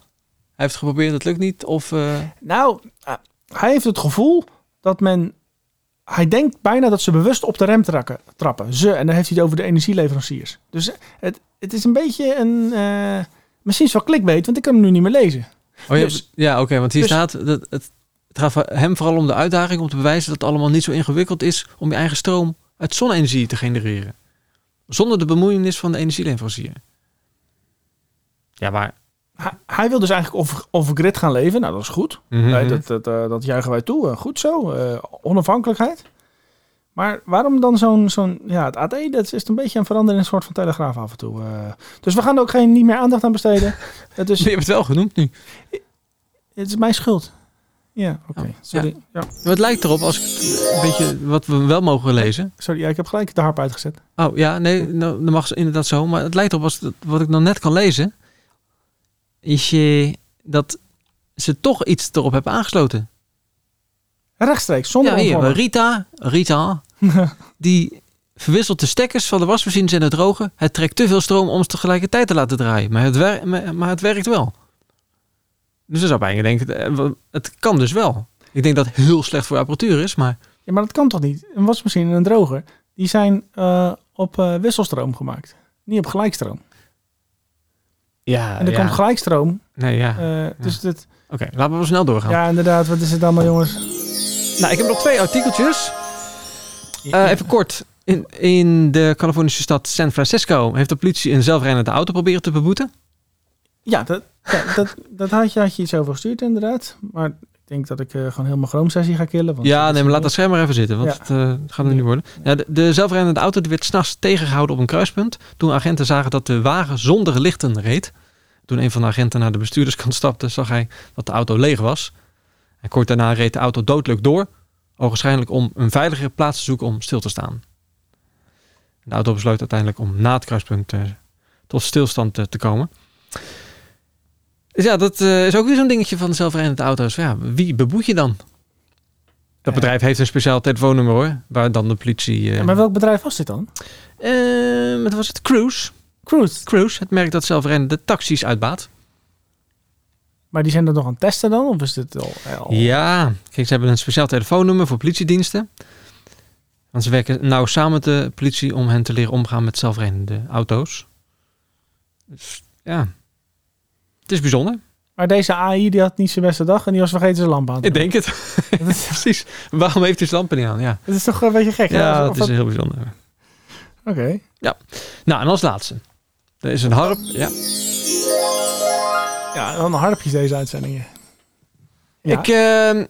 S2: Hij heeft geprobeerd, het lukt niet. Of, eh,
S1: Nou, eh, hij heeft het gevoel dat men... Hij denkt bijna dat ze bewust op de rem trakken, trappen. Ze, en dan heeft hij het over de energieleveranciers. Dus eh, het, het is een beetje een... eh, misschien is het wel clickbait, want ik kan hem nu niet meer lezen.
S2: oh, je hebt-
S1: Dus-
S2: ja, oké, want hier
S1: dus-
S2: staat... Dat, het, het gaat voor hem vooral om de uitdaging om te bewijzen dat het allemaal niet zo ingewikkeld is... om je eigen stroom uit zonne-energie te genereren. Zonder de bemoeienis van de energieleverancier. Ja, maar...
S1: Hij, hij wil dus eigenlijk over, over grid gaan leven. Nou, dat is goed.
S2: Mhm.
S1: Nee, dat, dat, eh, dat juichen wij toe. Eh, goed zo. Eh, onafhankelijkheid. Maar waarom dan zo'n... zo'n ja, het AD dat is een beetje een verandering in een soort van telegraaf af en toe. eh. dus we gaan er ook geen, niet meer aandacht aan besteden. Het is,
S2: Je hebt het wel genoemd nu.
S1: Het is mijn schuld. Ja, oké.
S2: Oh,
S1: Sorry. Ja.
S2: Maar het lijkt erop, als ik het een beetje wat we wel mogen lezen.
S1: sorry. Ja, ik heb gelijk de harp uitgezet.
S2: Oh ja, nee, nou, dat mag ze inderdaad zo. Maar het lijkt erop, als dat- wat ik dan net kan lezen, is je dat ze toch iets erop hebben aangesloten.
S1: Rechtstreeks, zonder
S2: Ja, hier,
S1: omvormen.
S2: Rita, Rita, die verwisselt de stekkers van de wasmachines en de droger. Het trekt te veel stroom om ze tegelijkertijd te laten draaien. Maar het, wer- maar- maar het werkt wel. Dus dan zou bijna denken, eh, het kan dus wel. Ik denk dat het heel slecht voor apparatuur is, maar
S1: Ja, maar dat kan toch niet? Een wasmachine en een droger, die zijn eh, op eh, wisselstroom gemaakt. Niet op gelijkstroom.
S2: ja,
S1: En er komt gelijkstroom.
S2: nee, ja.
S1: eh, dus dat,
S2: Oké, laten we wel snel doorgaan.
S1: ja, inderdaad. Wat is het allemaal, jongens?
S2: Nou, ik heb nog twee artikeltjes. Eh, even kort. In, in de Californische stad San Francisco heeft de politie een zelfrijdende auto proberen te beboeten.
S1: Ja, dat, ja, dat, dat had, je, had je iets over gestuurd, inderdaad. Maar ik denk dat ik eh, gewoon helemaal Chrome-sessie ga killen. Want
S2: ja, nee, maar laat dat scherm maar even zitten, want
S1: Ja.
S2: het eh, gaat er niet worden. Ja, de, de zelfrijdende auto die werd s'nachts tegengehouden op een kruispunt. Toen agenten zagen dat de wagen zonder lichten reed. Toen een van de agenten naar de bestuurderskant stapte, zag hij dat de auto leeg was. En kort daarna reed de auto dodelijk door. Ogenschijnlijk om een veiligere plaats te zoeken om stil te staan. De auto besloot uiteindelijk om na het kruispunt eh, tot stilstand eh, te komen. Dus ja, dat eh, is ook weer zo'n dingetje van de zelfrijdende auto's. Ja, wie beboet je dan? Dat
S1: Ja.
S2: bedrijf heeft een speciaal telefoonnummer hoor, waar dan de politie... eh,
S1: Ja, maar welk bedrijf was dit dan?
S2: eh, wat was het? Cruise.
S1: Cruise.
S2: Cruise, het merk dat zelfrijdende taxis uitbaat.
S1: Maar die zijn dat nog aan het testen dan? Of is dit al... al-
S2: Ja, kijk, ze hebben een speciaal telefoonnummer voor politiediensten. Want ze werken nauw samen met de politie om hen te leren omgaan met zelfrijdende auto's. Dus ja, het is bijzonder.
S1: Maar deze AI die had niet zijn beste dag en die was vergeten zijn lamp aan te
S2: Ik
S1: doen.
S2: denk het.
S1: Dat is,
S2: Precies. Waarom heeft hij zijn lampen niet aan? Ja,
S1: dat is toch een beetje gek. hè?
S2: ja
S1: Of
S2: dat is
S1: dat-
S2: heel bijzonder.
S1: Oké.
S2: Nou, en als laatste. Er is een harp. Ja.
S1: Ja, dan harpjes deze uitzendingen. Ja.
S2: Ik eh,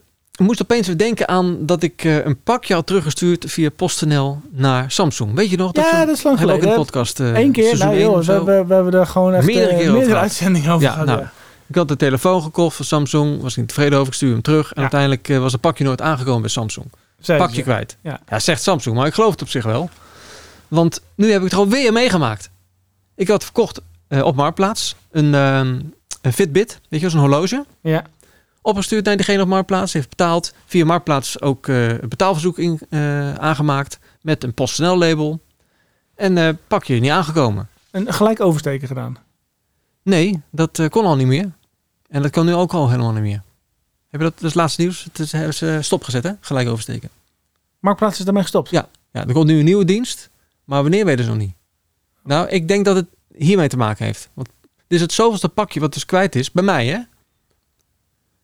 S2: moest opeens weer denken aan dat ik eh, een pakje had teruggestuurd via PostNL naar Samsung. Weet je nog?
S1: ja,
S2: zo'n-
S1: dat is lang
S2: hebben we ook in
S1: geleden.
S2: de
S1: Eén
S2: podcast. eh,
S1: keer,
S2: seizoen
S1: nou
S2: één
S1: joh,
S2: of
S1: we
S2: zo.
S1: hebben, we hebben er gewoon echt
S2: Meerdere
S1: eh,
S2: keren over gehad.
S1: uitzendingen over
S2: Ja,
S1: gehad.
S2: nou.
S1: ja.
S2: Ik had de telefoon gekocht van Samsung, was ik niet tevreden over, ik stuurde hem terug. En
S1: Ja.
S2: uiteindelijk eh, was het pakje nooit aangekomen bij Samsung.
S1: Zeiden
S2: pakje
S1: ze.
S2: kwijt.
S1: Ja.
S2: Ja. zegt Samsung, maar ik geloof het op zich wel. Want nu heb ik het gewoon weer meegemaakt. Ik had verkocht eh, op Marktplaats een, ehm, een Fitbit, weet je, wel, zo'n horloge.
S1: Ja.
S2: Opgestuurd naar degene op Marktplaats, heeft betaald. Via Marktplaats ook eh, een betaalverzoek in, eh, aangemaakt met een PostNL-label. En eh, pakje niet aangekomen.
S1: een gelijk oversteken gedaan.
S2: Nee, dat eh, kon al niet meer. En dat kan nu ook al helemaal niet meer. Heb je dat, dat is het laatste nieuws. Het is, hebben ze stopgezet, hè? Gelijk oversteken.
S1: Marktplaats is daarmee gestopt.
S2: Ja, er komt nu een nieuwe dienst. Maar wanneer weten ze nog niet? Nou, ik denk dat het hiermee te maken heeft. Want dit is het zoveelste pakje wat dus kwijt is. Bij mij, hè?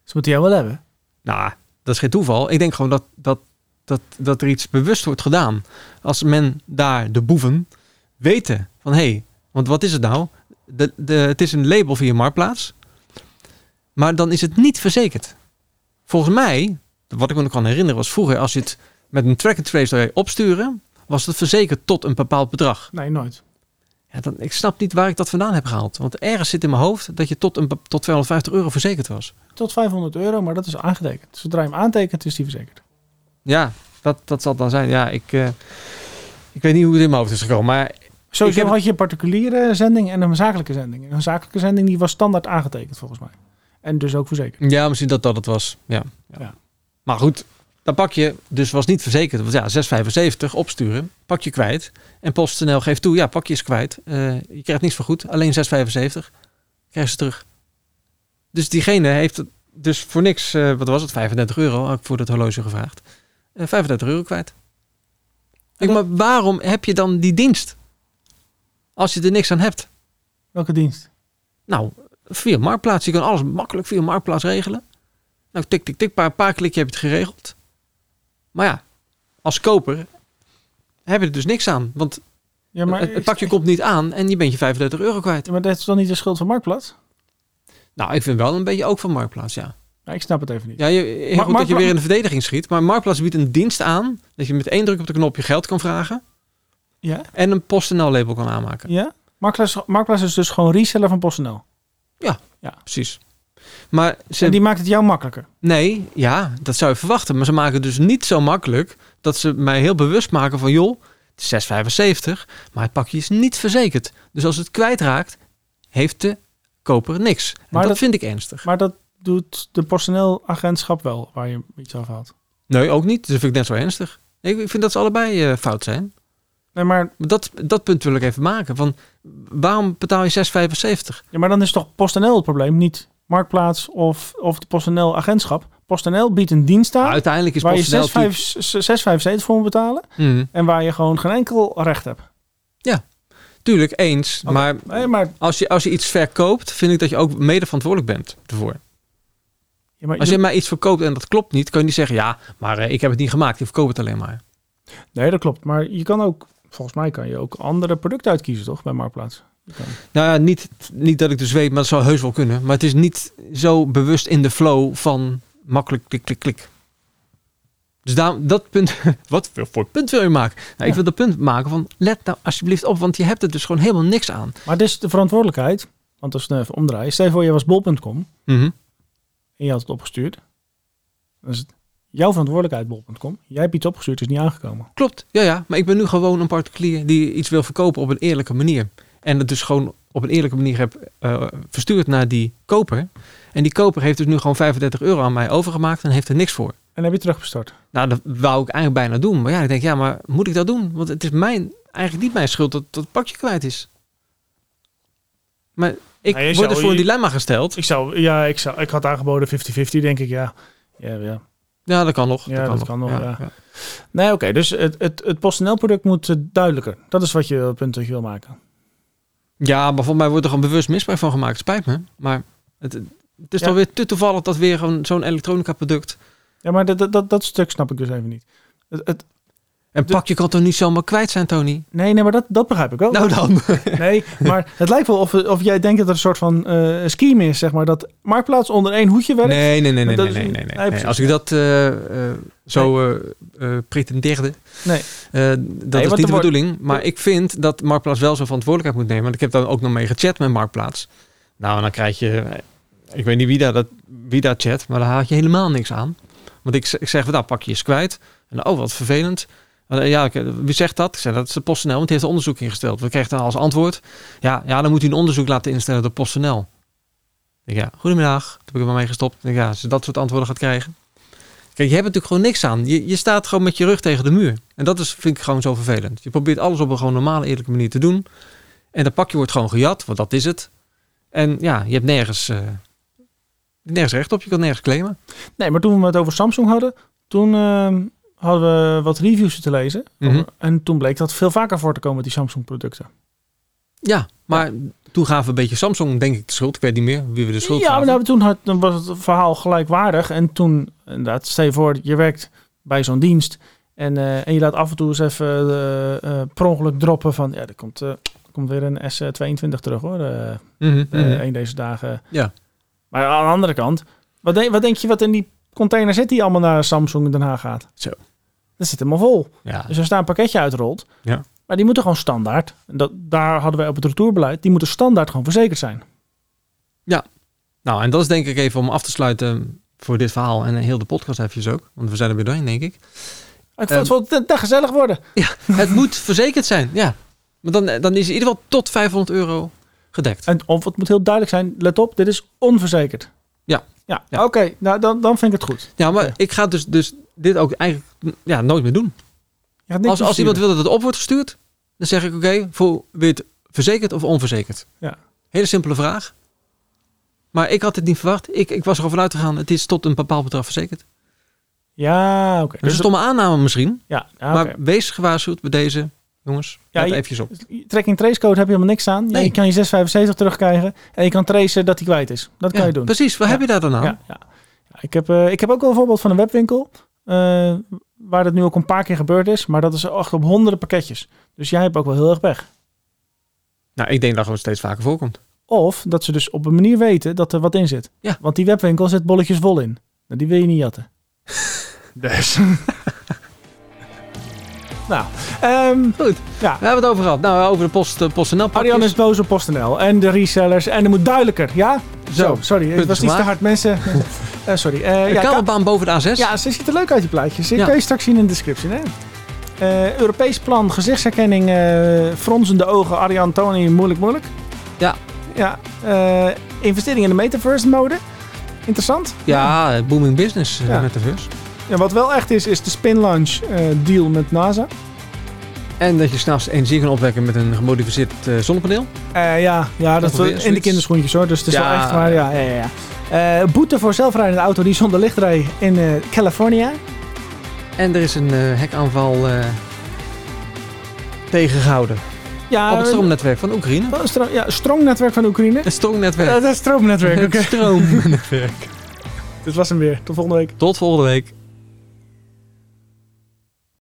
S1: Ze moeten jou wel hebben.
S2: Nou, dat is geen toeval. Ik denk gewoon dat, dat, dat, dat er iets bewust wordt gedaan. Als men daar, de boeven, weten van hé, hey, want wat is het nou? De, de, het is een label via Marktplaats. Maar dan is het niet verzekerd. Volgens mij, wat ik me nog kan herinneren, was vroeger als je het met een track and trace zou opsturen, was het verzekerd tot een bepaald bedrag.
S1: Nee, nooit.
S2: Ja, dan, ik snap niet waar ik dat vandaan heb gehaald. Want ergens zit in mijn hoofd dat je tot, een, be- tot 250 euro verzekerd was.
S1: Tot 500 euro, maar dat is aangetekend. Zodra je hem aantekent, is die verzekerd.
S2: Ja, dat, dat zal het dan zijn. Ja, ik, eh, ik weet niet hoe het in mijn hoofd is gekomen. Maar
S1: Sowieso
S2: heb-
S1: had je een particuliere zending en een zakelijke zending. En een zakelijke zending die was standaard aangetekend volgens mij. En dus ook verzekerd.
S2: ja, misschien dat dat het was. Ja.
S1: Ja.
S2: Maar goed, dat pakje dus was niet verzekerd. Want ja, 6,75 opsturen, pak je kwijt. En PostNL geeft toe, ja, pakje is kwijt. Eh, je krijgt niks voor goed, alleen 6,75. Krijg ze terug. Dus diegene heeft het dus voor niks, eh, wat was het, 35 euro, had ik voor dat horloge gevraagd. Eh 35 euro kwijt.
S1: En
S2: Ik, maar waarom heb je dan die dienst? Als je er niks aan hebt.
S1: Welke dienst?
S2: Nou, via Marktplaats. Je kan alles makkelijk via Marktplaats regelen. Nou, tik, tik, tik. Een paar, paar klikje heb je het geregeld. Maar ja, als koper heb je er dus niks aan. Want
S1: Ja, maar,
S2: het, het pakje komt niet aan en je bent je 35 euro kwijt.
S1: Ja, maar dat is dan niet de schuld van Marktplaats?
S2: Nou, ik vind wel een beetje ook van Marktplaats, ja.
S1: Nou, ik snap het even niet.
S2: Ja, je, heel goed dat je
S1: Marktpla-
S2: weer in de verdediging schiet. Maar Marktplaats biedt een dienst aan... dat je met één druk op de knop je geld kan vragen...
S1: Ja?
S2: en een PostNL-label kan aanmaken.
S1: ja? Marktplaats, Marktplaats is dus gewoon reseller van PostNL.
S2: Precies. Maar ze
S1: En die maakt het jou makkelijker.
S2: Nee, ja, dat zou je verwachten. Maar ze maken het dus niet zo makkelijk dat ze mij heel bewust maken van... joh, het is 6,75, maar het pakje is niet verzekerd. Dus als het kwijtraakt, heeft de koper niks. En
S1: Maar
S2: dat,
S1: dat-
S2: vind ik ernstig.
S1: Maar dat doet de personeelagentschap wel, waar je iets af haalt.
S2: Nee, ook niet. Dat vind ik net zo ernstig. Ik ik vind dat ze allebei eh, fout zijn.
S1: Nee, maar,
S2: Maar dat, dat punt wil ik even maken. Van, waarom betaal je 6,75?
S1: ja, maar dan is toch PostNL het probleem, niet Marktplaats of, of de PostNL-agentschap. PostNL biedt een dienst
S2: Maar
S1: aan
S2: uiteindelijk is
S1: waar
S2: PostNL
S1: je
S2: natuurlijk-
S1: 6,75 voor moet betalen
S2: Hmm,
S1: en waar je gewoon geen enkel recht hebt.
S2: tuurlijk, eens.
S1: Oké.
S2: Maar
S1: Nee, maar,
S2: als je, als je iets verkoopt, vind ik dat je ook mede verantwoordelijk bent ervoor.
S1: ja, maar
S2: Als je mij iets verkoopt en dat klopt niet, kan je niet zeggen: ja, maar eh, ik heb het niet gemaakt, ik verkoop het alleen maar.
S1: Nee, dat klopt. Maar je kan ook, volgens mij kan je ook andere producten uitkiezen, toch, bij Marktplaats? Je kan-
S2: Nou ja, niet, niet dat ik dus weet, maar dat zou heus wel kunnen. Maar het is niet zo bewust in de flow van makkelijk klik, klik, klik. Dus daar, dat punt, wat voor punt wil je maken? Nou, Ik
S1: Ja.
S2: wil dat punt maken van let nou alsjeblieft op, want je hebt er dus gewoon helemaal niks aan.
S1: Maar dit is de verantwoordelijkheid, want als we het even omdraaien. Stel je voor, je was bol.com
S2: Mhm.
S1: en je had het opgestuurd. Dan is het jouw verantwoordelijkheid, bol.com. Jij hebt iets opgestuurd, het is niet aangekomen.
S2: Klopt, ja, ja. Maar ik ben nu gewoon een particulier die iets wil verkopen op een eerlijke manier. En het dus gewoon op een eerlijke manier heb eh, verstuurd naar die koper. En die koper heeft dus nu gewoon 35 euro aan mij overgemaakt en heeft er niks voor.
S1: En dan heb je terugbestort.
S2: Nou, dat wou ik eigenlijk bijna doen. Maar ja, ik denk, ja, maar moet ik dat doen? Want het is mijn, eigenlijk niet mijn schuld dat dat pakje kwijt is. Maar ik
S1: Nou, je
S2: word
S1: zou-
S2: dus voor een
S1: je-
S2: dilemma gesteld.
S1: Ik zou, ja, ik zou, ik had aangeboden 50-50, denk ik, ja. Ja, ja.
S2: Ja, dat kan nog.
S1: Ja, dat kan nog, ja.
S2: ja.
S1: Nee, oké, dus het, het, het PostNL-product moet eh, duidelijker. Dat is wat je, het punt dat je wil maken.
S2: Ja, maar volgens mij wordt er gewoon bewust misbruik van gemaakt. Spijt me. Maar het, het is
S1: Ja.
S2: toch weer te toevallig dat weer gewoon zo'n elektronica product.
S1: Ja, maar dat, dat, dat, dat stuk snap ik dus even niet. Het, het,
S2: Een
S1: De-
S2: pakje kan toch niet zomaar kwijt zijn, Tony?
S1: nee, nee, maar dat, dat begrijp ik wel.
S2: Nou dan.
S1: Nee, maar het lijkt wel of, of jij denkt dat er een soort van eh scheme is, zeg maar. Dat Marktplaats onder één hoedje werkt.
S2: Nee, nee, nee, nee,
S1: Maar dat
S2: nee,
S1: is
S2: nee,
S1: niet-
S2: nee,
S1: nee,
S2: nee.
S1: precies.
S2: Als ik dat eh, eh, zo eh, eh, pretendeerde,
S1: Nee.
S2: eh, dat is
S1: want
S2: niet de
S1: er wordt-
S2: bedoeling. Maar ik vind dat Marktplaats wel zijn verantwoordelijkheid moet nemen. Want ik heb daar ook nog mee gechat met Marktplaats. Nou, en dan krijg je, eh, ik weet niet wie daar, dat, wie daar chat, maar daar haal je helemaal niks aan. Want ik, z- ik zeg, van, nou, pak je eens kwijt. En oh, wat vervelend. Eh, Ja, ik- wie zegt dat? Ik zeg, dat is de PostNL, want die heeft een onderzoek ingesteld. We kregen dan als antwoord, ja, ja, dan moet u een onderzoek laten instellen door PostNL. Ik denk, ja, goedemiddag. Toen heb ik er maar mee gestopt. Ik denk, ja, als je dat soort antwoorden gaat krijgen. Kijk, je hebt natuurlijk gewoon niks aan. Je, je staat gewoon met je rug tegen de muur. En dat is, vind ik gewoon zo vervelend. Je probeert alles op een gewoon normale, eerlijke manier te doen. En dat pakje wordt gewoon gejat, want dat is het. En ja, je hebt nergens, eh, nergens recht op. Je kan nergens claimen.
S1: Nee, maar toen we het over Samsung hadden, toen ehm, hadden we wat reviews te lezen.
S2: Mhm.
S1: En toen bleek dat veel vaker voor te komen met die Samsung producten.
S2: Ja, maar toen gaven we een beetje Samsung, denk ik, de schuld. Ik weet niet meer wie we de schuld
S1: ja,
S2: gaven.
S1: maar nou, toen, had, dan was het verhaal gelijkwaardig. En toen, inderdaad, stel je voor, je werkt bij zo'n dienst. En, eh, en je laat af en toe eens even eh, eh, per ongeluk droppen van... Ja, er komt, eh, er komt weer een S22 terug hoor, eh eh,
S2: Mhm, mhm.
S1: een deze dagen.
S2: Ja.
S1: Maar aan de andere kant, wat, denk- wat denk je wat in die container zit die allemaal naar Samsung in Den Haag gaat?
S2: Zo.
S1: Dat zit helemaal vol.
S2: ja.
S1: Dus als daar een pakketje uitrolt,
S2: Ja.
S1: maar die moeten gewoon standaard, en dat, daar hadden wij op het retourbeleid, die moeten standaard gewoon verzekerd zijn.
S2: Nou, en dat is denk ik even om af te sluiten voor dit verhaal en heel de podcast eventjes ook. Want we zijn er weer doorheen, denk ik.
S1: Ik vond het wel te- te gezellig worden.
S2: Het moet verzekerd zijn, ja. Maar dan, dan is in ieder geval tot 500 euro gedekt.
S1: En of het moet heel duidelijk zijn, let op, dit is onverzekerd.
S2: Ja.
S1: Ja,
S2: Ja.
S1: oké, nou, dan, dan vind ik het goed.
S2: Ja, maar
S1: Ja.
S2: ik ga dus, dus dit ook eigenlijk mm, ja, nooit meer doen.
S1: Je gaat niks
S2: Als, als
S1: versturen.
S2: iemand wil dat het op wordt gestuurd, dan zeg ik oké, voor wil je het verzekerd of onverzekerd?
S1: Ja.
S2: Hele simpele vraag. Maar ik had het niet verwacht. Ik, ik was ervan uitgegaan, het is tot een bepaald bedrag verzekerd. Dat
S1: Ja, oké.
S2: is een stomme aanname misschien,
S1: ja, ja, Dus- Ah, oké.
S2: Dus maar wees gewaarschuwd bij deze jongens.
S1: Ja,
S2: let
S1: je-
S2: eventjes op.
S1: Tracking trace code heb je helemaal niks aan. Ja,
S2: Nee.
S1: je kan je 675 terugkrijgen en je kan tracen dat hij kwijt is. Dat kan
S2: Ja,
S1: je doen.
S2: Precies, wat
S1: Ja.
S2: heb je daar dan aan?
S1: Ja, ja. Ja, ik, heb, eh, ik heb ook wel een voorbeeld van een webwinkel. eh, waar dat nu ook een paar keer gebeurd is. Maar dat is echt op honderden pakketjes. Dus jij hebt ook wel heel erg weg.
S2: Nou, ik denk dat het steeds vaker voorkomt.
S1: Of dat ze dus op een manier weten dat er wat in zit.
S2: Ja.
S1: Want die webwinkel zit bolletjes vol in. Nou, die wil je niet jatten. dus. nou, ehm,
S2: Goed.
S1: Ja.
S2: We hebben het over gehad. Nou, over de post, eh, PostNL pakjes.
S1: Arjan is boos op PostNL en de resellers. En er moet duidelijker, ja?
S2: Zo,
S1: sorry. Het
S2: punt
S1: was
S2: is
S1: iets te
S2: gemaakt.
S1: hard, mensen. Eh, sorry. Eh,
S2: Een
S1: ja, Ka-
S2: kabelbaan boven de A6.
S1: Ja, ze ziet er leuk uit, die plaatjes. Ik
S2: Dus- Ja.
S1: Kun je straks zien in de description, hè? Eh, Europees plan, gezichtsherkenning, eh, fronsende ogen, Arjan, Tony, moeilijk, moeilijk.
S2: Ja.
S1: Ja. eh, investering in de metaverse-mode. Interessant.
S2: Ja, eh, booming business eh,
S1: Ja.
S2: met de bus.
S1: En wat wel echt is, is de Spin Launch eh, deal met NASA.
S2: En dat je s'nachts energie kan opwekken met een gemodificeerd eh, zonnepaneel.
S1: Eh, ja, ja, dat
S2: Ongeveer
S1: wel- in de
S2: zoiets.
S1: kinderschoentjes hoor, dus het is
S2: Ja.
S1: wel echt waar. Ja, ja, ja. ja. Eh, boete voor zelfrijdende auto die zonder licht rijdt in eh, California.
S2: En er is een eh, hekaanval eh, tegengehouden
S1: Ja,
S2: op het stroomnetwerk van Oekraïne.
S1: eh, stroom- ja, stroomnetwerk van Oekraïne.
S2: Het stroomnetwerk.
S1: Eh, dat is stroomnetwerk, oké.
S2: Het stroomnetwerk.
S1: Dit was hem weer. Tot volgende week.
S2: Tot volgende week.